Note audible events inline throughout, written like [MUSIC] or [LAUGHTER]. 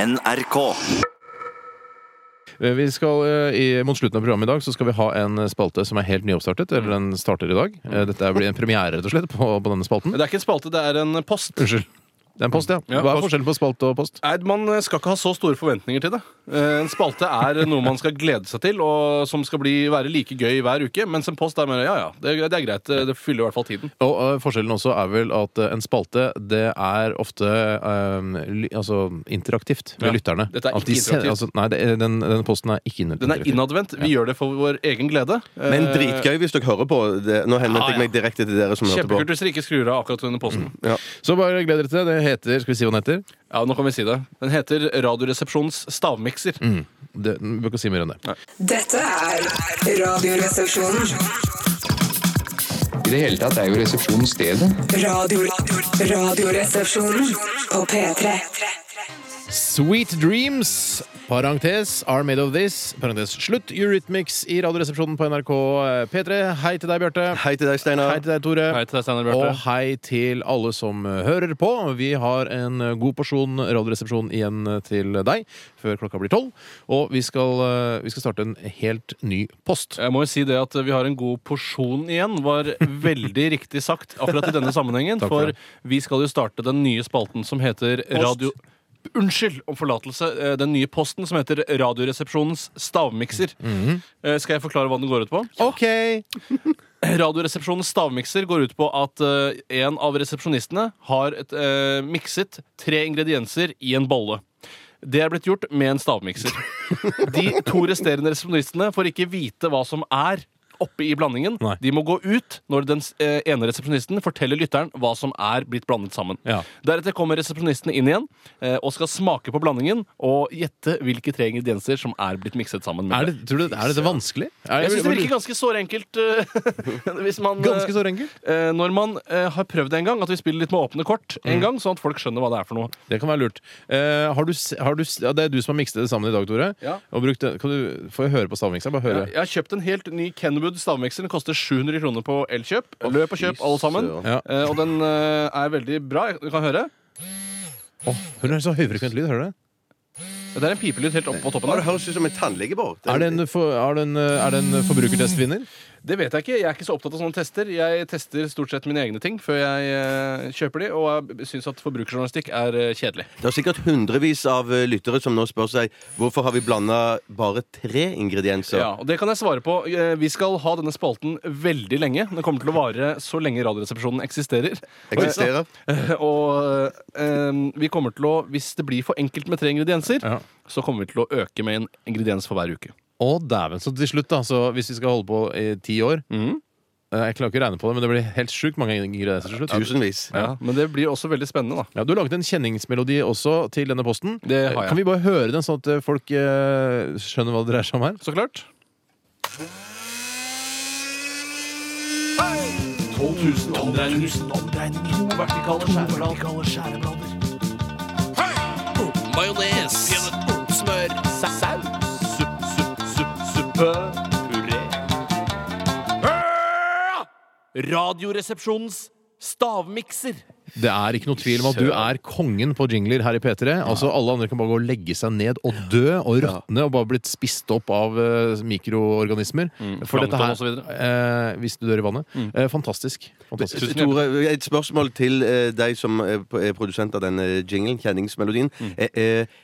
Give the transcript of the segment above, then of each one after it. NRK. Eh, Vi skal, eh, i, mot slutten av programmet i dag så skal vi ha en spalte som er helt nyoppstartet. Eller den starter i dag. Eh, Dette blir en premiere rett og slett på, på denne spalten. Det er ikke en spalte, det er en post. Unnskyld. Det er en post, ja. Ja, Hva er post. forskjellen på spalte og post? Nei, Man eh, skal ikke ha så store forventninger til det. Eh, En spalte er noe man skal glede seg til, og som skal bli, være like gøy hver uke. Mens en post er mer ja ja, det, det er greit. Eh, Det fyller i hvert fall tiden. Og eh, forskjellen også er vel at eh, en spalte det er ofte eh, ly, altså, interaktivt med Ja. lytterne. Dette er At de ikke sender- interaktivt. Altså, nei, det, er- den, den posten er ikke Den er innadvendt. Vi gjør det for vår egen glede. Eh, Men dritgøy hvis dere hører på. Det, nå henvendte Ja, ja. jeg meg direkte til dere som hørte på. Mm, Kjempekult hvis dere ikke skrur av akkurat under posten. Så bare gled dere til det. Det heter Skal vi si hva den heter? Ja, nå kan vi si det. Den heter Radioresepsjonens stavmikser. Mm. Det, vi bør ikke si mer enn det. Dette er Radioresepsjonen. I det hele tatt er jo resepsjonen stedet. Radio, radioresepsjonen på P3. Sweet Dreams, parentes, Are Made Of This, parentes slutt, Eurythmics i Radioresepsjonen på NRK P3. Hei til deg, Bjarte. Hei til deg, Steinar. Hei til deg, Tore. Hei til deg, Steinar Og Bjarte. hei til alle som eh, hører på. Vi har en eh, god porsjon Radioresepsjon igjen eh, til deg før klokka blir tolv. Og vi skal, eh, vi skal starte en helt ny post. Jeg må jo si det at vi har en god porsjon igjen, [LAUGHS] var veldig riktig sagt akkurat i denne sammenhengen. for For det. vi skal jo starte den nye spalten som heter Radio... Unnskyld om forlatelse. eh, Den nye posten som heter Radioresepsjonens stavmikser. Mm. Eh, Skal jeg forklare hva den går ut på? OK! Radioresepsjonens stavmikser går ut på at eh, en av resepsjonistene har et, eh, mikset tre ingredienser i en bolle. Det er blitt gjort med [LAUGHS] en stavmikser. De to resterende resepsjonistene får ikke vite hva som er oppe i blandingen. Nei. De må gå ut når den eh, ene resepsjonisten forteller lytteren hva som er blitt blandet sammen. Ja. Deretter kommer resepsjonistene inn igjen eh, og skal smake på blandingen og gjette hvilke tre ingredienser som er blitt mikset sammen. med Er, det, tror du, er dette vanskelig? Er, jeg syns det virker ganske såre enkelt. eh, [LAUGHS] hvis man, eh, ganske så enkelt. eh, når man eh, har prøvd det en gang, at vi spiller litt med åpne kort en gang, sånn at folk skjønner hva det er for noe. Det kan være lurt. Eh, har du, s- har du, s- ja, det er du som har mikset det sammen i dag, Tore. Ja. Og brukt, det- kan du, får jeg høre på stavmikseren? Bare høre. Jeg, jeg har kjøpt en helt ny Kenwood stavmikser. Den koster 700 kroner på Elkjøp. Løp og kjøp, alle sammen. søren. Ja. Eh, og den eh, er veldig bra. Du kan høre. Åh, Hun har så høyfrekvent lyd, hører du det? Det er en pipelyd helt oppe på toppen. Å, det Der. høres ut som en tannlege, Bård. Er det en, for, er det en, er det en forbrukertestvinner? Det vet jeg ikke. Jeg er ikke så opptatt av sånne tester. Jeg tester stort sett mine egne ting før jeg eh, kjøper de, og jeg syns at forbrukerjournalistikk er eh, kjedelig. Det er sikkert hundrevis av eh, lyttere som nå spør seg hvorfor har vi blanda bare tre ingredienser. Ja, og det kan jeg svare på. Eh, Vi skal ha denne spalten veldig lenge. Den kommer til å vare så lenge Radioresepsjonen eksisterer. Eksisterer. Eh, Og eh, vi kommer til å, hvis det blir for enkelt med tre ingredienser, Ja. så kommer vi til å øke med en ingrediens for hver uke. Å, dæven. Så til slutt, da, så hvis vi skal holde på i ti år eh, Jeg klarer ikke å regne på det, men det blir helt sjukt mange ingredienser til slutt. Tusenvis. Men det blir også veldig spennende, da. Ja, du har laget en kjenningsmelodi også til denne posten. Det har jeg. Kan vi bare høre den, sånn at eh, folk eh, skjønner hva det dreier seg om her? Så klart. 12 000 omdreininger. To vertikale skjæreblader. Majones. Smør. Saus. Supp, supp, supp, suppe. Puré. Radioresepsjonens stavmikser. Det er ikke noe tvil om at du er kongen på jingler her i P3. Altså Alle andre kan bare gå og legge seg ned og dø og råtne og bare blitt spist opp av eh, mikroorganismer. For dette her plankton Mm. og så videre. Mm. eh, Hvis du dør i vannet. Eh, fantastisk. fantastisk. Tore, et spørsmål til eh, deg som er p- er produsent av denne jinglen, kjenningsmelodien. Mm. Eh, eh,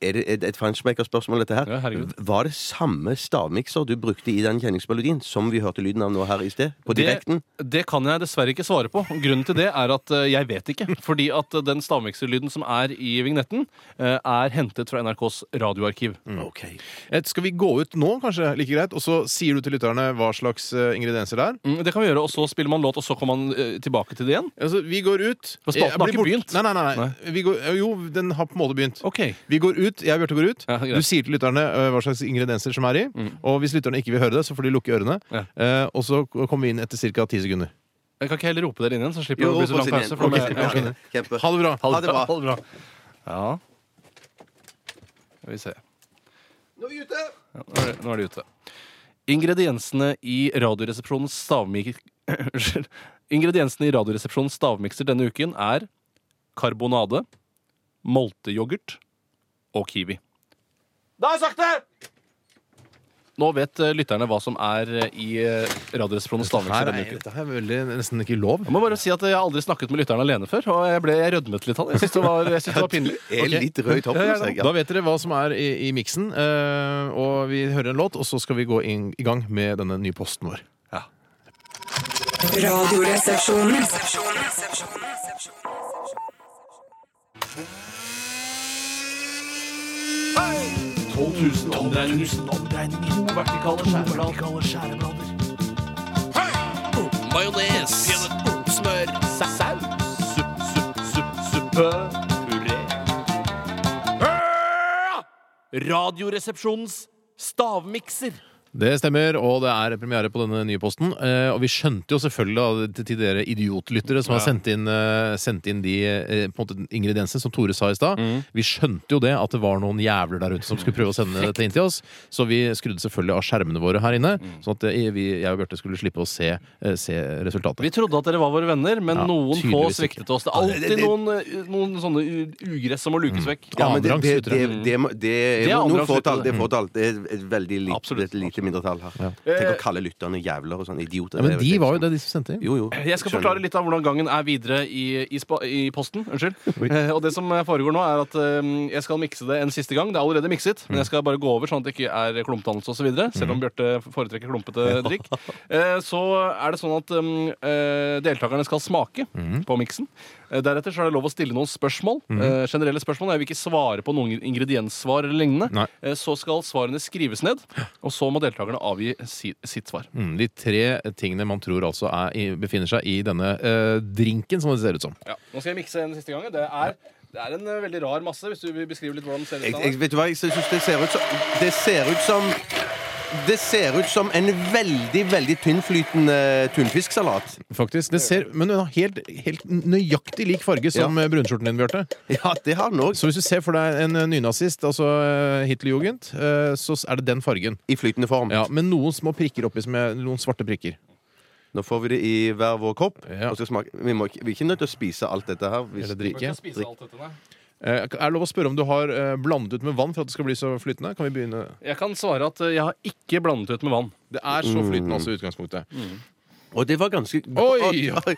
Er det et- et Funchmaker-spørsmål, dette her? Ja, herregud. Var det samme stavmikser du brukte i den kjenningsmelodien som vi hørte lyden av nå her i sted? På direkten? Det, det kan jeg dessverre ikke svare på. Grunnen til det er at eh, jeg vet ikke. Fordi at eh, den stavmikserlyden som er i vignetten, eh, er hentet fra NRKs radioarkiv. Ok. Et, Eh, skal vi gå ut nå, kanskje? Like greit. Og så sier du til lytterne hva slags eh, ingredienser det er. Mm, det kan vi gjøre, og så spiller man låt, og så kommer man eh, tilbake til det igjen. Altså, vi går ut Eh, For Jeg spalten har blir ikke bort- begynt. Nei, nei, nei, nei. Vi går, eh, jo, den har på en måte begynt. Ok. Vi går ut, jeg og Bjarte går ut. Ja, greit. du sier til lytterne ø, hva slags ingredienser som er i. Og hvis lytterne ikke vil høre det, så får de lukke ørene. Ja. Eh, og så kommer vi inn etter ca. ti sekunder. Jeg kan ikke heller rope dere inn igjen, så slipper Jo, det å bli så lang rop oss inn pause. For da igjen. må jeg- Ok, Kjempe. Ha det bra. Ha det bra. Ha det bra. Ja. Skal vi se. Nå er vi ute! Ja, nå, er det, nå er det ute. Ingrediensene i Radioresepsjonens stavmik... [COUGHS] Unnskyld. Ingrediensene i Radioresepsjonens stavmikser denne uken er karbonade, molteyoghurt og kiwi. Da har jeg sagt det! Nå vet eh, lytterne hva som er eh, i eh, Radioresepsjonens stavmikser Her denne er, uken. dette her er veldig, nesten ikke lov. Jeg må bare si at jeg har aldri snakket med lytterne alene før, og jeg ble jeg rødmet litt av det. Jeg synes det var, jeg synes det var pinlig. Jeg er Ok. litt rød i toppen. Ja, ja, så jeg- Da vet dere hva som er i, i miksen. eh, og vi hører en låt, og så skal vi gå inn, i gang med denne nye posten vår. Radioresepsjonen. Radioresepsjonens stavmikser. Det stemmer, og det er premiere på denne nye posten. Eh, og vi skjønte jo selvfølgelig da, til- til dere idiotlyttere som har Ja. sendt inn, eh, sendt inn de eh, på en måte ingrediensene som Tore sa i stad. Mm. Vi skjønte jo det at det var noen jævler der ute som skulle prøve å sende dette inn til oss. Så vi skrudde selvfølgelig av skjermene våre her inne, Mm. sånn at eh, vi, jeg og Bjarte skulle slippe å se, eh, se Vi resultatet. trodde at dere var våre venner, men Ja, noen få tydeligvis ikke. sviktet oss. Det er alltid noen, eh, noen sånne u- ugress som må lukes vekk. Ja, men det, Annenrangs det, det, lyttere. det, må- det Det er er noen annenrangs Mm. lyttere. fåtall. Det er fåtall. Det er et veldig lite, Absolutt, et lite mindretall her. Tenk å kalle lytterne jævler og sånn. Idioter. Ja, men Det er de jo var jo helt det, de som sendte inn. Jo, jo. Jeg skal forklare litt av hvordan gangen er videre i, i, spa, i posten. Unnskyld. Eh, og det som foregår nå, er at eh, jeg skal mikse det en siste gang. Det er allerede mikset, men jeg skal bare gå over sånn at det ikke er klumpdannelse osv. Selv om Bjarte foretrekker klumpete drikk. Eh, så er det sånn at eh, deltakerne skal smake på miksen. Eh, Deretter så er det lov å stille noen spørsmål. Eh, generelle spørsmål. Jeg vil ikke svare på noen ingredienssvar eller lignende. Nei. Eh, så skal svarene skrives ned, og så må deltakerne avgi si, sitt svar. Mm, de tre tingene man tror altså er, i- befinner seg i denne eh, drinken, som det ser ut som. Ja, Nå skal jeg mikse en siste gang. Det er, det er en eh, veldig rar masse, hvis du vil beskrive litt hvordan den ser ut. Jeg, Steinar. jeg, vet du hva, jeg syns det ser ut som Det ser ut som det ser ut som en veldig veldig tynnflytende tunfisksalat. Faktisk, det ser, Men den har helt, helt nøyaktig lik farge som eh, brunskjorten din, Bjarte. Ja, det har den òg. Så hvis du ser for deg en eh, nynazist, altså eh, Hitlerjugend, eh, så er det den fargen. I flytende form. Ja, Med noen små prikker oppi, som er noen svarte prikker. Nå får vi det i hver vår kopp. Ja. Og skal smake. Vi, må, ikke- vi er ikke nødt til å spise alt dette her. Hvis, Eller drikke. Kan jeg spise alt dette, nei? Eh, Er det lov å spørre om du har eh, blandet ut med vann for at det skal bli så flytende? Kan vi begynne? Jeg kan svare at eh, jeg har ikke blandet ut med vann. Det er så flytende altså i utgangspunktet. Og det var ganske Oi! oi, oi,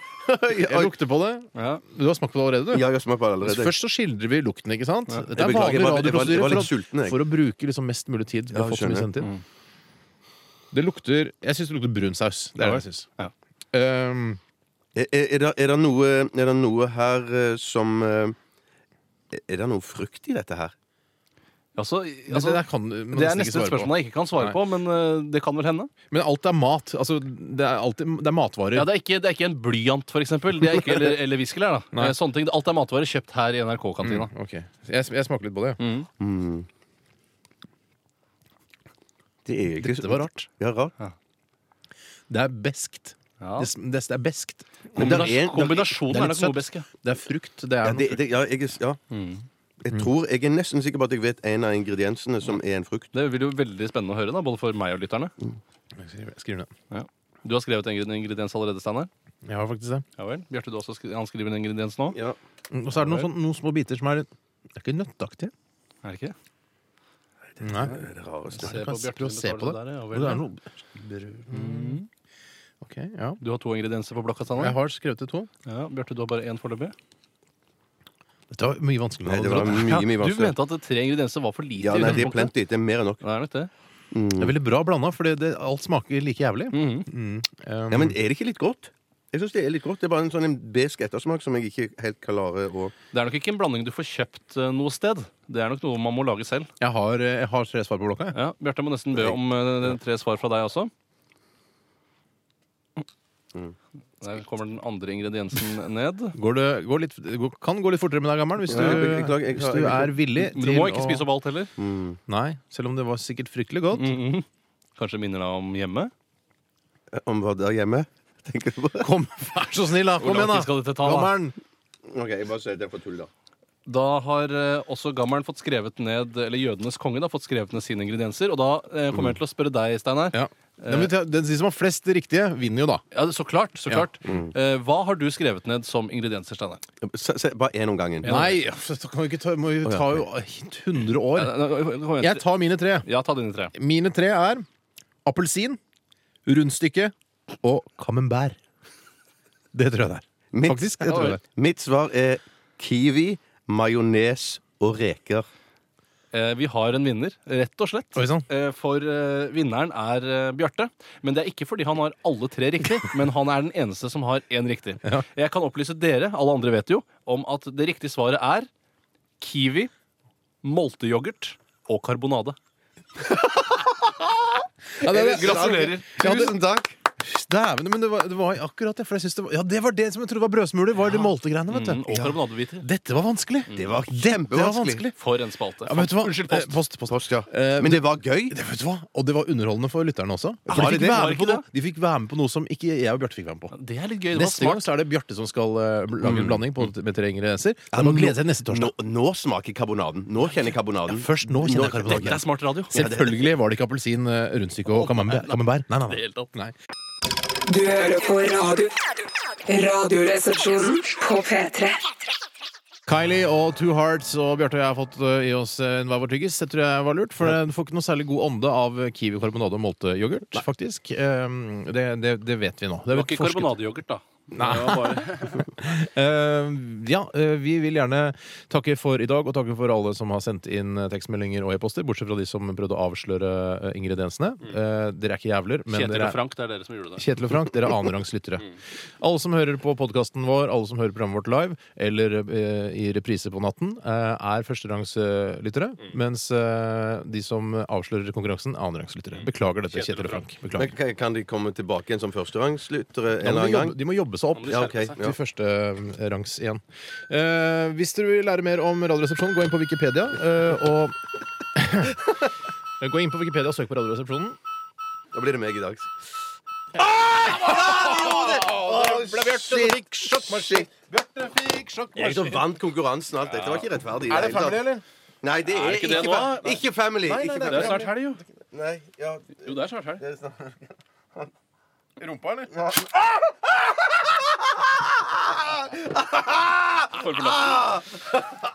Jeg oi. lukter på det. Du har smakt på det allerede, du? Ja, jeg har smakt på det allerede. Altså, Først så skildrer vi lukten, ikke sant? Dette Jeg er beklager, vanlig jeg var- jeg var- jeg var radioprosedyre litt for, sulten, å- jeg. for å bruke liksom mest mulig tid. Vi Ja, har fått så mye skjønner. sendt inn. Det lukter Jeg syns det lukter brun saus. Det er det jeg syns. Ja. Um, Er, er, er det- er, det noe, er det noe her eh, som eh, Er det noe frukt i dette her? Altså, i- det, altså, det der kan man det er nesten ikke nesten et svare på. spørsmål jeg ikke kan svare Nei. på, men eh, det kan vel hende. Men alt er mat. Altså, det er, alltid, det er matvarer. Ja, det, er ikke, det er ikke en blyant, for eksempel. Det er ikke, eller eller viskelær. da. Nei. Mm. Eh, Sånne ting. Alt er matvarer kjøpt her i NRK-kantina. Ok, jeg, jeg smaker litt på det. ja. Det er egentlig Dette var rart. Ja, rart. Det er beskt. Ja. Det, sm- det, det er beskt. Men der er- Kombinasjon- det Kombinasjonen der- er litt er nok søtt. nobeske. Det er frukt. Det Ja, er noe Mm. det, det, ja, jeg, er- ja. jeg tror Jeg er nesten sikker på at jeg vet en av ingrediensene som er en frukt. Det blir jo veldig spennende å høre, da, både for meg og lytterne. frukt. Jeg skriver- jeg skriver ned. Du har skrevet en ingrediens allerede, Steinar. Jeg har faktisk det. Ja vel. Bjarte, du har også skri- han skriver en ingrediens nå? Ja. Mm, Og så er det noen, sånn, noen små biter som er litt Det er ikke nøtteaktige. Er det ikke det? Nei. Det er det rareste. Se kan på Bjarte, prøve å du se tar på det. det der, ja, Og vel, det ja. er noe Mm. OK, ja. Du har to ingredienser på blokka, Jeg Steinar. har skrevet det to. Ja, Bjarte, du har bare én foreløpig. Dette var mye vanskeligere. Nei, enn jeg det hadde var trodd. mye, mye Du vanskeligere. mente at tre ingredienser var for lite. Ja, i nei, det er utgangspunktet. plenty. Det er mer enn nok. Mm. Det er nok det. Det er veldig bra blanda, for det, det, alt smaker like jævlig. Mhm. Um, Ja, Men er det ikke litt godt? Jeg syns det er litt godt. Det er bare en sånn en besk ettersmak som jeg ikke helt klarer å Det er nok ikke en blanding du får kjøpt eh, noe sted. Det er nok noe man må lage selv. Jeg, har, eh, jeg har tre svar på blokka. jeg. Ja, Bjarte må nesten be om eh, tre svar fra deg også. Mm. Der kommer den andre ingrediensen ned. [LAUGHS] Går det, går litt, det går, kan gå litt fortere med deg, gammer'n, hvis, Ja, du- jeg beklager, jeg hvis har- du jeg- er villig Men du må ikke spise opp alt heller. mm, Nei, selv om det var sikkert fryktelig godt. Mhm. Kanskje det minner deg om hjemme? eh, Om hva der hjemme? [LAUGHS] Tenker du på det? Kom, vær så snill, da! Kom Hvor lang igjen, da! tid skal dette ta, da? Gammer'n! OK, jeg bare sier det for tull, da. Da har eh, også gammelen fått skrevet ned Eller jødenes konge da, fått skrevet ned sine ingredienser. Og da eh, kommer jeg til å spørre deg, Steinar. Ja. Nei, men ta- den- De som har flest riktige, vinner jo, da. Ja, så klart. så klart Eh, Hva har du skrevet ned som ingredienser, Steinar? Se, se, bare én om gangen. Nei, så kan vi ikke ta, må jo ta jo 100 år. Kom igjen. Jeg tar mine tre. Ja, ta dine tre. Mine tre er appelsin, rundstykke og camembert. Det tror jeg det er. Mitt- Faktisk. Det tror jeg det er. Mitt svar er kiwi, majones og reker. Eh, Vi har en vinner, rett og slett. Oi, sann. Eh, For eh, vinneren er eh, Bjarte. Men det er ikke fordi han har alle tre riktig, [LAUGHS] men han er den eneste som har én riktig. Jeg kan opplyse dere, alle andre vet jo, om at det riktige svaret er kiwi, molteyoghurt og karbonade. Ja, det er det. Gratulerer. Tusen takk! Dæven, men det var, det var akkurat det. For jeg synes det var, ja, det var det som jeg trodde var brødsmuler. Var det moltegreiene, vet du. Mm, og Ja. karbonadebiter. Dette var vanskelig. Det var Det var kjempevanskelig. vanskelig. For en spalte. Ja, vet du hva? Unnskyld, Eh, post. post, post. Post, ja. Eh, Men det var gøy. Det, vet du hva? Og det var underholdende for lytterne også. For Var de, det det? fikk være med det Var på ikke noe, de fikk være med på noe som ikke jeg og Bjarte fikk være med på. Det er litt gøy. Det var Neste gang smart. så er det Bjarte som skal eh, bl- lage en blanding på, med tre ingredienser. Det må glede seg neste torsdag. Nå, nå smaker karbonaden. Nå kjenner jeg karbonaden. Først nå kjenner jeg Dette er karbonaden. smart radio. Selvfølgelig var det ikke appelsin, eh, rundstykke og camembert. camembert. Nei, Det nei, er helt opp. nei. nei. Du hører på radio. Radioresepsjonen på P3. Kylie og Two Hearts og Bjarte og jeg har fått eh, i oss eh, en hver vår tyggis. Det tror jeg var lurt, for eh, du får ikke noe særlig god ånde av kiwi, karbonade og molteyoghurt, faktisk. Eh, Det, det, det vet vi nå. Det Det er var ikke forsket. karbonadeyoghurt, da. Det [LAUGHS] var bare... Eh, ja, eh, vi vil gjerne takke for i dag, og takke for alle som har sendt inn eh, tekstmeldinger og e-poster, bortsett fra de som prøvde å avsløre eh, ingrediensene. Eh, dere er ikke jævler, men Kjetil dere og er Frank, det er dere som gjorde det. Kjetil og Frank, dere er annenrangs lyttere. Alle som hører på podkasten vår, alle som hører programmet vårt live eller eh, i reprise på natten, eh, er førsterangs eh, lyttere, mens eh, de som avslører konkurransen, er annenrangs lyttere. Beklager dette, Kjetil Kjetil og og Frank. Men Beklager. kan- Kan de komme tilbake igjen som førsterangslyttere en Da eller må de, annen gang? jobbe, de må jobbe seg opp. Ja, ok. Ja. til første eh, rangs igjen. Eh, hvis dere vil lære mer om Radioresepsjonen, gå inn på Wikipedia eh, [LAUGHS] og [LAUGHS] Gå inn på Wikipedia og søk på Radioresepsjonen. Da blir det meg i dag. Ah! Jeg som vant konkurransen og alt dette. Det var ikke rettferdig. i hele tatt. eller? Nei, det er, det ikke ikke, det nå, fa- da? ikke family. ikke Det family. er snart helg, jo. Nei, ja, Jo, det er snart helg. det er snart. Rumpa, eller?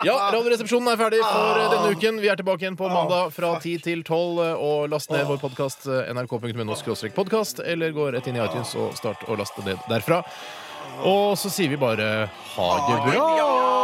Ja, Radioresepsjonen er ferdig for eh, denne uken. Vi er tilbake igjen på mandag fra 10 til 12. eh, Og last ned vår eh, podkast nrk.no-podkast, eller gå rett inn i iTunes og start å laste ned derfra. Og så sier vi bare ha det bra!